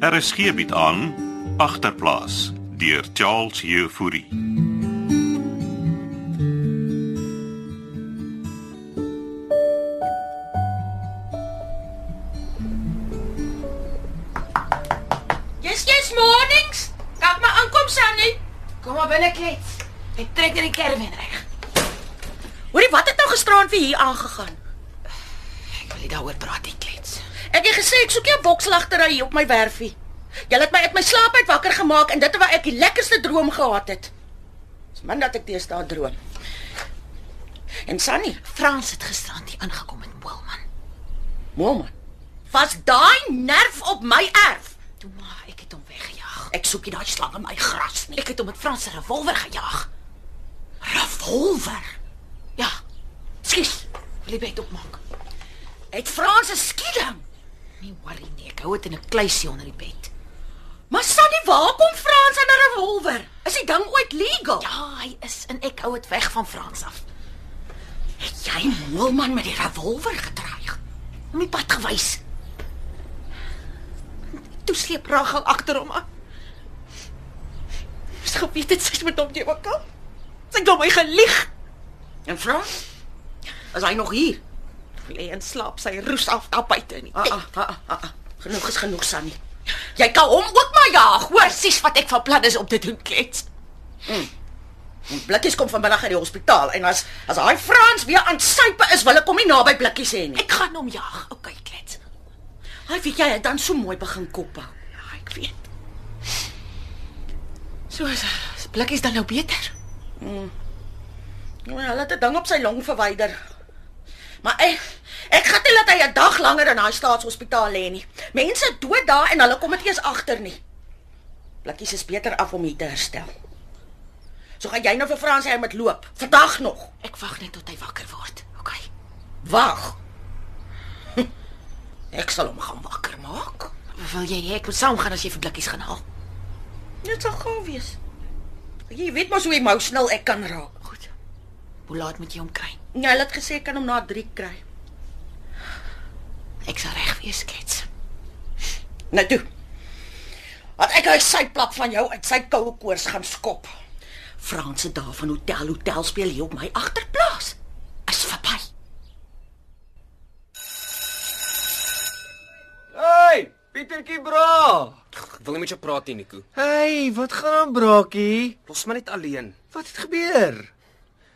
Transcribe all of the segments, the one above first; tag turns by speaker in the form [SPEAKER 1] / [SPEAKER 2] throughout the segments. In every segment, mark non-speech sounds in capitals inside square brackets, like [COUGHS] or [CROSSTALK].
[SPEAKER 1] RSG bied Er aan agterplaas deur Charles Jefouri.
[SPEAKER 2] Yes, yes, mornings. Kak maar aankom Sunny.
[SPEAKER 3] Kom maar binne klets. Ek trek in die kerwin reg.
[SPEAKER 2] Hoorie, wat het nou gisteraan vir hier aangegaan?
[SPEAKER 3] Ek wil nie daaroor praat nie, klets.
[SPEAKER 2] Ek het gesê ek soek jou bokslagtery hier op my werfie. Jy het my uit my slaap uit wakker gemaak en dit terwyl ek die lekkerste droom gehad het. Dis min dat ek teëstaan droom. En Sunny,
[SPEAKER 3] Frans het gisterand hier aangekom met Wilman.
[SPEAKER 2] Momma, was daai nerf op my erf?
[SPEAKER 3] Toe maar, ek het hom weggejaag.
[SPEAKER 2] Ek soek nie daai slang in my gras nie.
[SPEAKER 3] Ek het hom met Frans se revolver gejaag. Revolver. Ja. Skus. Wil jy dit opmaak?
[SPEAKER 2] Het Frans 'n skieding.
[SPEAKER 3] Nie worry nie, ek hou dit in 'n kluisie onder die bed.
[SPEAKER 2] Maar Sunny, waar kom Frans aan 'n revolver? Is die ding ooit legal?
[SPEAKER 3] Ja, hy is en ek hou dit weg van Frans af.
[SPEAKER 2] het jy Moelman met die revolver gedreig?
[SPEAKER 3] Om die pad gewys. Toe sleep Rachel agter hom aan.
[SPEAKER 2] Dis geweet dit sy's met hom te ook al.
[SPEAKER 3] Sy het hom my gelieg.
[SPEAKER 2] En Frans? Is hy nog hier?
[SPEAKER 3] Lê en slaap sy roes af daar buite in die
[SPEAKER 2] Ah,
[SPEAKER 3] bed.
[SPEAKER 2] ah, ah, ah, ah. Genoeg is genoeg, Sunny. Jy kan hom ook maar jaag, hoor.
[SPEAKER 3] Presies wat ek van plan is om te doen, klets.
[SPEAKER 2] Die Mm. Blikkies kom vanmiddag uit die hospitaal en as as daai Frans weer aan sype is, wil ek hom nie naby Blikkies hê nie.
[SPEAKER 3] Ek gaan hom jag. Okay, klets.
[SPEAKER 2] Hy weet jy het dan so mooi begin kop hou.
[SPEAKER 3] Ja, ek weet. So is se blikkies dan nou beter.
[SPEAKER 2] Mm. Ja, maar Hulle het 'n ding op sy long verwyder. Maar ek ek gaan nie laat hy 'n dag langer in daai staatshospitaal lê nie. Mense dood daar en hulle kom dit eers agter nie. Blikkies is beter af om hier te herstel. So gaan jy nou vir Frans hy moet loop. Vandag nog.
[SPEAKER 3] Ek wag net tot hy wakker word. Okay.
[SPEAKER 2] Wag. Hm, Ek sal hom gaan wakker maak.
[SPEAKER 3] Wil jy hê ek moet saam gaan as jy vir blikkies gaan haal?
[SPEAKER 2] Dit sal gou wees. Jy weet mos hoe emotional ek kan raak.
[SPEAKER 3] Goed. Hoe laat moet jy hom kry?
[SPEAKER 2] Ja, hulle het gesê ek kan hom na 3 kry.
[SPEAKER 3] Ek sal reg wees, klets.
[SPEAKER 2] Nou toe. Want ek hy sy plap van jou uit sy koue koors gaan skop. Frans se daar van hotel hotel speel hier op my agterplaas.
[SPEAKER 3] Is verby.
[SPEAKER 4] Hey, Pietertjie bra.
[SPEAKER 5] Ek wil nie met jou praat nie, Nico.
[SPEAKER 4] Hey, wat gaan aan, braakie?
[SPEAKER 5] Los my net alleen.
[SPEAKER 4] Wat het gebeur?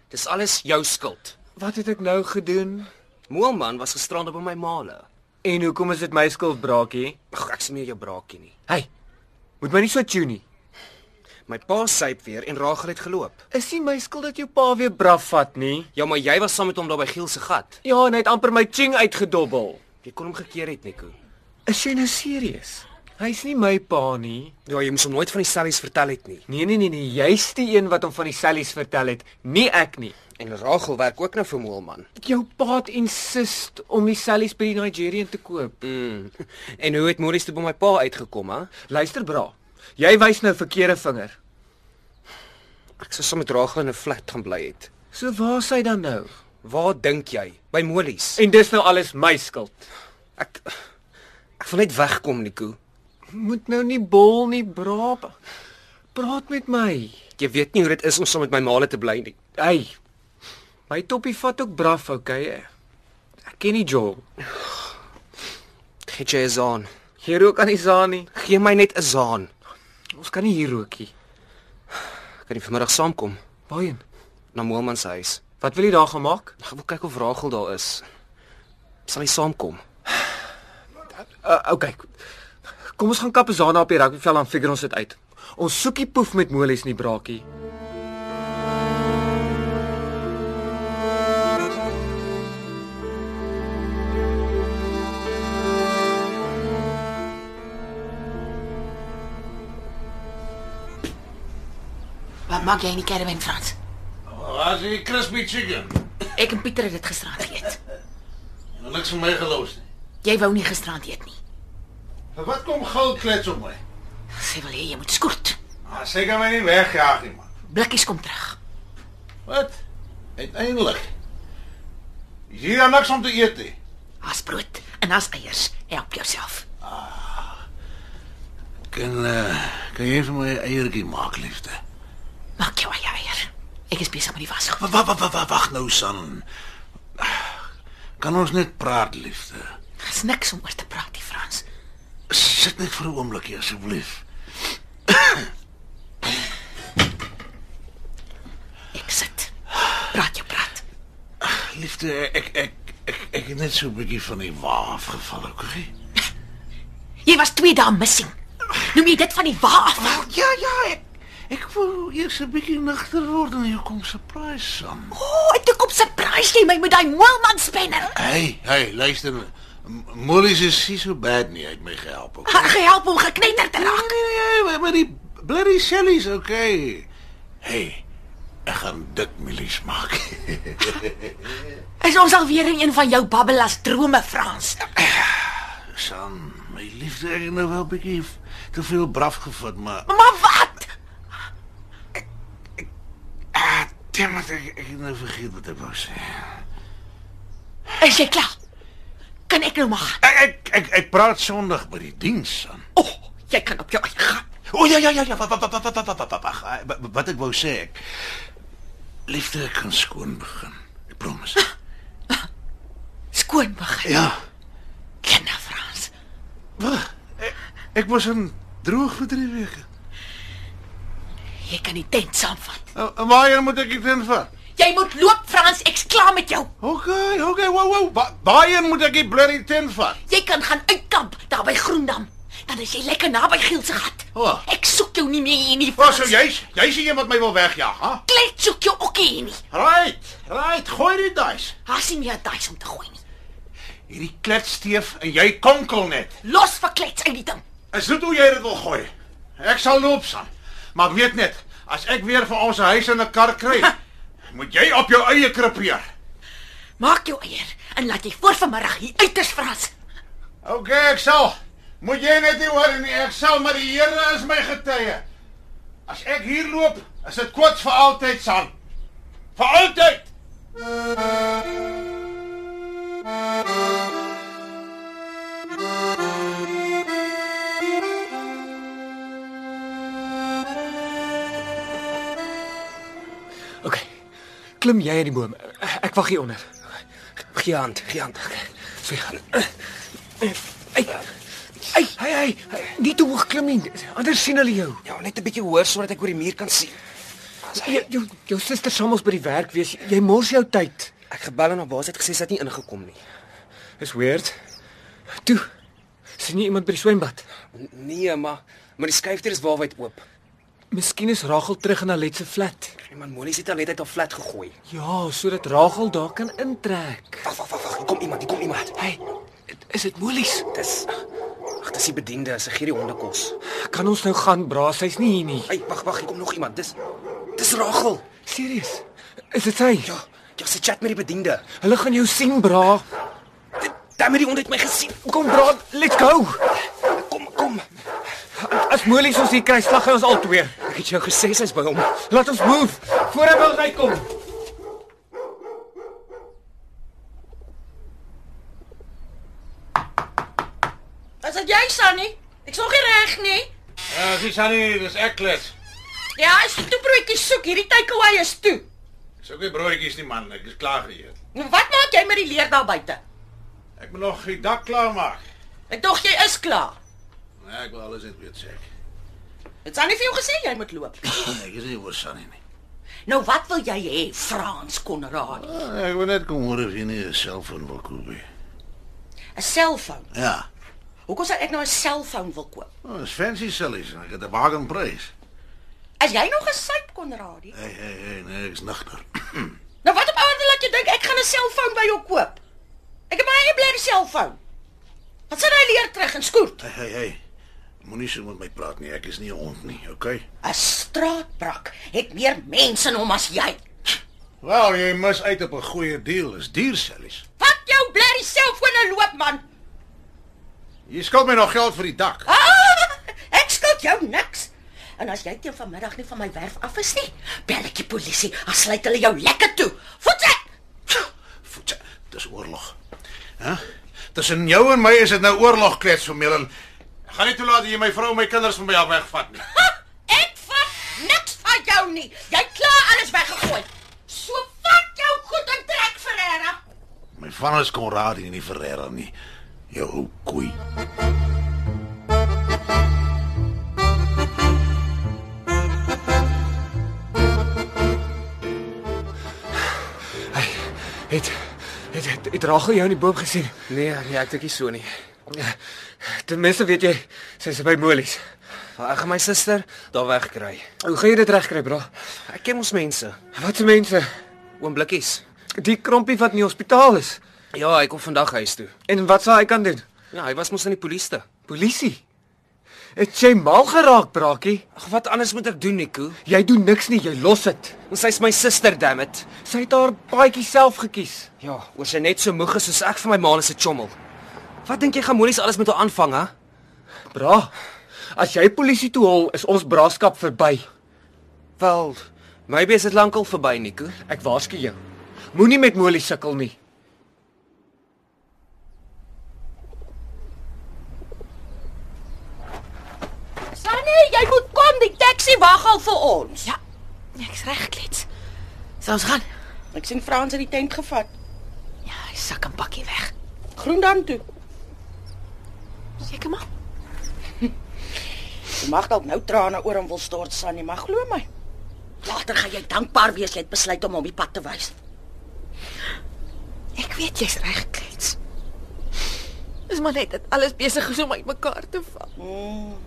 [SPEAKER 5] Dis alles jou skuld.
[SPEAKER 4] Wat het ek nou gedoen?
[SPEAKER 5] Moelman was gisterand op my male.
[SPEAKER 4] En hoekom is dit my skuld, braakie?
[SPEAKER 5] Ag, ek smeer jou braakie nie.
[SPEAKER 4] Hey, moet my nie so tune nie.
[SPEAKER 5] My pa syp weer en Rachel het geloop.
[SPEAKER 4] Is nie my skuld dat jou pa weer braaf vat nie.
[SPEAKER 5] Ja, maar jy was saam met hom daar by Giel se gat.
[SPEAKER 4] Ja, en hy het amper my ching uitgedobbel.
[SPEAKER 5] Jy kon hom gekeer het, Nico.
[SPEAKER 4] Is jy nou serieus? Hy's nie my pa nie.
[SPEAKER 5] Ja, jy moes hom nooit van die sellies vertel het nie.
[SPEAKER 4] Nee nee nee nee, jy's die een wat hom van die sellies vertel het, nie ek nie.
[SPEAKER 5] En Rachel werk ook nou vir Moelman.
[SPEAKER 4] Jou pa het insist om die sellies by die Nigerian te koop.
[SPEAKER 5] Mm. [LAUGHS] En hoe het Morris toe by my pa uitgekom, hè?
[SPEAKER 4] Luister bra. Jy wys nou verkeerde vinger.
[SPEAKER 5] Ek sou saam met Rachel in 'n flat gaan bly het.
[SPEAKER 4] So waar is hy dan nou?
[SPEAKER 5] Waar dink jy? By Mollies.
[SPEAKER 4] En dis nou alles my skuld.
[SPEAKER 5] Ek ek wil net wegkom, Nico.
[SPEAKER 4] Moet nou nie bol nie, braap. Praat met my.
[SPEAKER 5] Jy weet nie hoe dit is om saam met my male te bly nie.
[SPEAKER 4] Hey. My toppie vat ook braaf, okay? Ek ken nie Joel.
[SPEAKER 5] Het jy 'n saan?
[SPEAKER 4] Hier ook aan Isani.
[SPEAKER 5] Gee my net 'n saan.
[SPEAKER 4] Ons kan nie hier rookie.
[SPEAKER 5] Kan jy vanmiddag saamkom
[SPEAKER 4] Waarheen?
[SPEAKER 5] na Moelman se huis?
[SPEAKER 4] Wat wil jy daar gemaak?
[SPEAKER 5] Ek wil kyk of Rachel daar is. Sal jy saamkom?
[SPEAKER 4] Uh, okay. Kom ons gaan kap Isana op die rugbyveld en figure ons dit uit. Ons soekie poef met molies nie, braakie.
[SPEAKER 3] Wat maak jy in die kerwin, Frans?
[SPEAKER 6] Waar is die crispy chicken?
[SPEAKER 3] Ek en Pieter het dit gisterand geëet.
[SPEAKER 6] Jy het niks van my gelos nie.
[SPEAKER 3] Jy wou nie gisterand eet nie.
[SPEAKER 6] Vir wat kom gil klets op my?
[SPEAKER 3] Sy wil hê jy moet skoot.
[SPEAKER 6] Ah, sê kan my nie wegjaag nie, man.
[SPEAKER 3] Blikkies kom terug.
[SPEAKER 6] Wat? Uiteindelik. Is hier dan niks om te eet nie?
[SPEAKER 3] Haas brood en haas eiers. Help jouself.
[SPEAKER 6] Kan eh, kan jy vir my 'n eiertjie maak, liefde?
[SPEAKER 3] Maak jou eie eier. Ek is besig met die wasgoed.
[SPEAKER 6] Wag wag wag wag nou, San. Kan ons net praat, liefde?
[SPEAKER 3] Dis niks om oor te praat, die Frans.
[SPEAKER 6] Sit net vir 'n oomblik hier asseblief.
[SPEAKER 3] Ek sit. Praat jou praat.
[SPEAKER 6] Liefde, ek ek ek ek het net so 'n bietjie van die wa afgeval, okay?
[SPEAKER 3] Jy was 2 dae missing. Noem jy dit van die wa af?
[SPEAKER 6] Wel, Oh, ja ja, ek ek wil eers 'n bietjie nigter word en jy kom surprise, San.
[SPEAKER 3] O, oh, ek dink op surprise jy my met daai moelman spanner.
[SPEAKER 6] Hey, hey, luister. M- Mollies is nie so bad nie, hy het my gehelp. Okay?
[SPEAKER 2] Ah,
[SPEAKER 3] Ek gehelp om geknetter te raak.
[SPEAKER 6] Nee, nee, nee, maar die bloody shellies, okay. Hey, ek gaan dik mielies maak. [LAUGHS]
[SPEAKER 3] Is ons al weer in een van jou babbelas drome, Frans?
[SPEAKER 6] San, my liefde, ek het nou wel 'n bietjie f- te veel braaf gevat, maar
[SPEAKER 3] Maar wat?
[SPEAKER 6] ah, damn it, ek, ek het nou vergeet wat ek wou sê.
[SPEAKER 3] Is jy klaar? Kan ek nou maar gaan?
[SPEAKER 6] Ek ek ek, ek praat Sondag by die diens, San.
[SPEAKER 3] O, oh, jy kan op jou eie gaan.
[SPEAKER 6] O ja ja ja ja, wa- wa- wa- wa- wa- wa- wa- wa- wa- wa- wa- wa- wat ek wou sê. Ek, liefde, ek kan skoon begin. Ek promise.
[SPEAKER 3] Skoon
[SPEAKER 6] [LAUGHS]
[SPEAKER 3] begin.
[SPEAKER 6] Ja.
[SPEAKER 3] Kinder, Frans.
[SPEAKER 6] Wag. Ek, ek was in droog vir 3 weke.
[SPEAKER 3] Jy kan die tent saamvat.
[SPEAKER 6] Uh, Waarheen moet ek dit invat?
[SPEAKER 3] Jy moet loop, Frans. Ek's klaar met jou.
[SPEAKER 6] Okay, okay, wow wow. Ba- Waarheen moet ek die bloody tent vat?
[SPEAKER 3] Jy kan gaan uitkamp daar by Groendam. Dan is jy lekker naby Gielse gat.
[SPEAKER 6] O.
[SPEAKER 3] Ek soek jou nie meer hier nie.
[SPEAKER 6] Wat sou jy's? Jy's die een wat my wil wegjaag, ha?
[SPEAKER 3] Klet soek jou ook hier nie.
[SPEAKER 6] Right, right, gooi die dice.
[SPEAKER 3] Haas nie meer daai om te gooi nie.
[SPEAKER 6] Hierdie kletsteef en jy konkel net.
[SPEAKER 3] Los vir klets uit die ding.
[SPEAKER 6] Is dit hoe jy dit wil gooi? Ek sal loop saam. Maar weet net, as ek weer vir ons 'n huis en 'n kar [LAUGHS] kry, moet jy op jou eie krepeer.
[SPEAKER 3] Maak jou eier en laat jy voor vanmiddag hier uit is, Frans.
[SPEAKER 6] Okay, ek sal. Moet jy net nie hoor nie, ek sal, maar die Here is my getuie. As ek hier loop, is dit kwats vir altyd, San. Vir altyd.
[SPEAKER 4] OK. Klim jy uit die boom. Ek wag hier onder. Eh,
[SPEAKER 5] Gee hand, gee hand. Okay.
[SPEAKER 4] So. Ai. Ai, ai, ai. Nie te hoog klim nie. Anders sien hulle jou.
[SPEAKER 5] Ja, net 'n bietjie hoër sodat ek oor die muur kan sien.
[SPEAKER 4] Jou jou, jou suster sal mos by die werk wees. Jy mors jou tyd.
[SPEAKER 5] Ek gebel en haar baas het gesê sy het nie ingekom nie.
[SPEAKER 4] Is weird. Toe. Sien jy iemand by die swembad?
[SPEAKER 5] N- Nee, maar maar die skuifdeur is waarwyd oop.
[SPEAKER 4] Miskien is Ragel terug in haar letse flat.
[SPEAKER 5] En man Molly het haar net uit haar flat gegooi.
[SPEAKER 4] Ja, sodat Ragel daar kan intrek.
[SPEAKER 5] Wag, wag, wag, wag. hier Kom iemand, hier kom iemand.
[SPEAKER 4] Hey, is dit moeilies?
[SPEAKER 5] Dis Ag, dis die bediende, sy gee die honde kos.
[SPEAKER 4] Kan ons nou gaan, bra? Sy's nie hier nie.
[SPEAKER 5] Ai, wag, wag, hier kom nog iemand. Dis Dis Rachel.
[SPEAKER 4] Serius? Is dit sy?
[SPEAKER 5] Ja, ja, sy chat met die bediende.
[SPEAKER 4] Hulle gaan jou sien, bra.
[SPEAKER 5] Damn, die hond het my gesien.
[SPEAKER 4] Kom, bra, let's go.
[SPEAKER 5] Kom, kom.
[SPEAKER 4] As moeilies ons hier kry, slag hy ons al twee.
[SPEAKER 5] Ek het jou gesê sy's by hom.
[SPEAKER 4] Laat ons move voor hy by ons uitkom.
[SPEAKER 2] Is dit jy, Sunny? Ek's nog nie reg nie.
[SPEAKER 6] Ja, dis Sannie, dis ek klets.
[SPEAKER 2] Ja, as jy toe broodjies soek, hierdie takeaway is toe.
[SPEAKER 6] Sou ek broodjies nie man, ek is klaar geëet.
[SPEAKER 2] Nou wat maak jy met die leer daar buite?
[SPEAKER 6] Ek moet nog die dak klaar maak.
[SPEAKER 2] Ek dink jy is klaar.
[SPEAKER 6] Nee, ek wil alles net weet sê. ek.
[SPEAKER 2] Het Sunny vir jou gesê jy moet loop?
[SPEAKER 6] Nee, ek is nie oor Sannie nie.
[SPEAKER 2] Nou wat wil jy hê, Frans Konrad?
[SPEAKER 6] Ah, ek wil net kom hoor of jy nie 'n selfoon wil koop nie.
[SPEAKER 2] 'n Selfoon.
[SPEAKER 6] Ja.
[SPEAKER 2] Hoekom sal ek nou 'n selfoon wil koop?
[SPEAKER 6] Oh, dis fancy sillies en ek het 'n bargain prys.
[SPEAKER 2] As jy nog 'n suip Konradie.
[SPEAKER 6] Hey, hey, hey, nee, ek is nigter. [COUGHS]
[SPEAKER 2] Nou wat op aarde laat jy dink ek gaan 'n selfoon by jou koop? Ek het my eie blerrie selfoon. Wat sit hy leer terug en skoot?
[SPEAKER 6] Hey, hey, hey. Moenie so met my praat nie, ek is nie 'n hond nie, okay?
[SPEAKER 2] 'n Straatbrak het meer mense in hom as jy.
[SPEAKER 6] Wel, jy mis uit op 'n goeie deal, is duur sillies.
[SPEAKER 2] Vat jou blerrie selfoon en loop man.
[SPEAKER 6] Jy skuld my nog geld vir die dak.
[SPEAKER 2] Ah, ek skuld jou niks. En as jy teen vanmiddag nie van my werf af is nie, bel ek die polisie. Dan sluit hulle jou lekker toe. Voet ek.
[SPEAKER 6] Voetse, Dis oorlog. Hæ? Huh? Tussen jou en my is dit nou oorlog klets van Melin. Gaan nie toelaat dat jy my vrou en my kinders van my af wegvat nie.
[SPEAKER 2] Ek vat niks van jou nie. Jy het klaar alles weggegooi. So vat jou goed en trek Ferreira.
[SPEAKER 6] My van is Konrad en nie Ferreira nie. Jou ou koei.
[SPEAKER 4] Het het het, het Rachel jou in die boom gesien.
[SPEAKER 5] Nee, nee, ek dink nie so nie.
[SPEAKER 4] Ten minste weet jy sy's by Molies.
[SPEAKER 5] Maar ek gaan my suster daar wegkry.
[SPEAKER 4] Hoe gaan jy dit regkry, bra?
[SPEAKER 5] Ek ken ons mense,
[SPEAKER 4] Wat se mense?
[SPEAKER 5] oom Blikkies.
[SPEAKER 4] Die krompie wat in die hospitaal is.
[SPEAKER 5] Ja, hy kom vandag huis toe.
[SPEAKER 4] En wat sal hy kan doen?
[SPEAKER 5] Ja, hy was mos in die polisie.
[SPEAKER 4] Polisie. Het jy mal geraak, braakie?
[SPEAKER 5] Ag, wat anders moet ek doen, Nico?
[SPEAKER 4] Jy doen niks nie, jy los dit.
[SPEAKER 5] Want sy's my suster, damn it.
[SPEAKER 4] Sy het haar paadjie self gekies.
[SPEAKER 5] Ja, oor sy net so moeg is soos ek vir my ma se chommel. Wat dink jy gaan Monies alles met haar aanvang, hè?
[SPEAKER 4] Bra. As jy polisie toe hol, is ons braaskap verby.
[SPEAKER 5] Wel, maybe is dit lankal verby, Nico.
[SPEAKER 4] Ek waarsku jou. Moenie met Molie sukkel nie.
[SPEAKER 2] Sanne, jy moet kom, die taxi wag al vir ons.
[SPEAKER 3] Ja. Ek's reg klets. Sal ons gaan?
[SPEAKER 2] Ek sien Frans in die tent gevat.
[SPEAKER 3] Ja, hy sak 'n pakkie weg.
[SPEAKER 2] Groendam toe.
[SPEAKER 3] Seker maar.
[SPEAKER 2] Jy mag dalk nou trane oor hom wil stort, Sanne, maar glo my. Later gaan jy dankbaar wees jy het besluit om hom die pad te wys.
[SPEAKER 3] Ek weet jy's reg klets. Dis maar net dat alles besig is om uitmekaar te val.
[SPEAKER 2] Mm.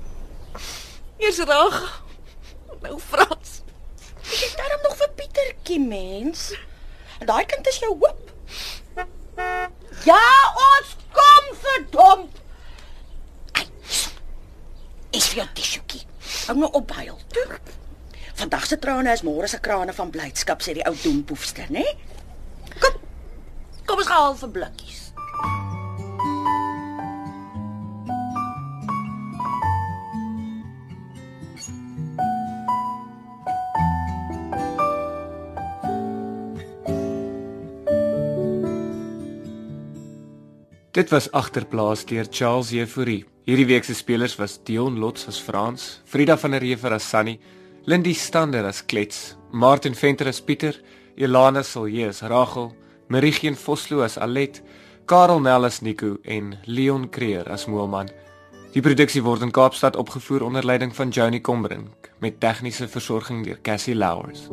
[SPEAKER 3] Eers reg. Nou Frans.
[SPEAKER 2] Is Jy darm nog vir Pietertjie mens. En daai kind is jou hoop. Ja, ons kom verdomp. Ai, hierso. Is vir jou tissuekie. Hou nou op huil. toe. Vandag se trane is môre se krane van blydskap sê die ou doempoefster, né? Kom. Kom ons gaan haal vir blikkies.
[SPEAKER 4] Dit was agterplaas deur Charles Jefouri. Hierdie week se spelers was Dion Lots as Frans, Frida van der Heever as Sunny, Lindy Stander as Klets, Martin Venter as Pieter, Elana Silje as Rachel, Marigien Vosloo as Alet, Karel Nel as Nico en Leon Creer as Moelman. Die produksie word in Kaapstad opgevoer onder leiding van Johnny Combrink met tegniese versorging deur Cassie Louws.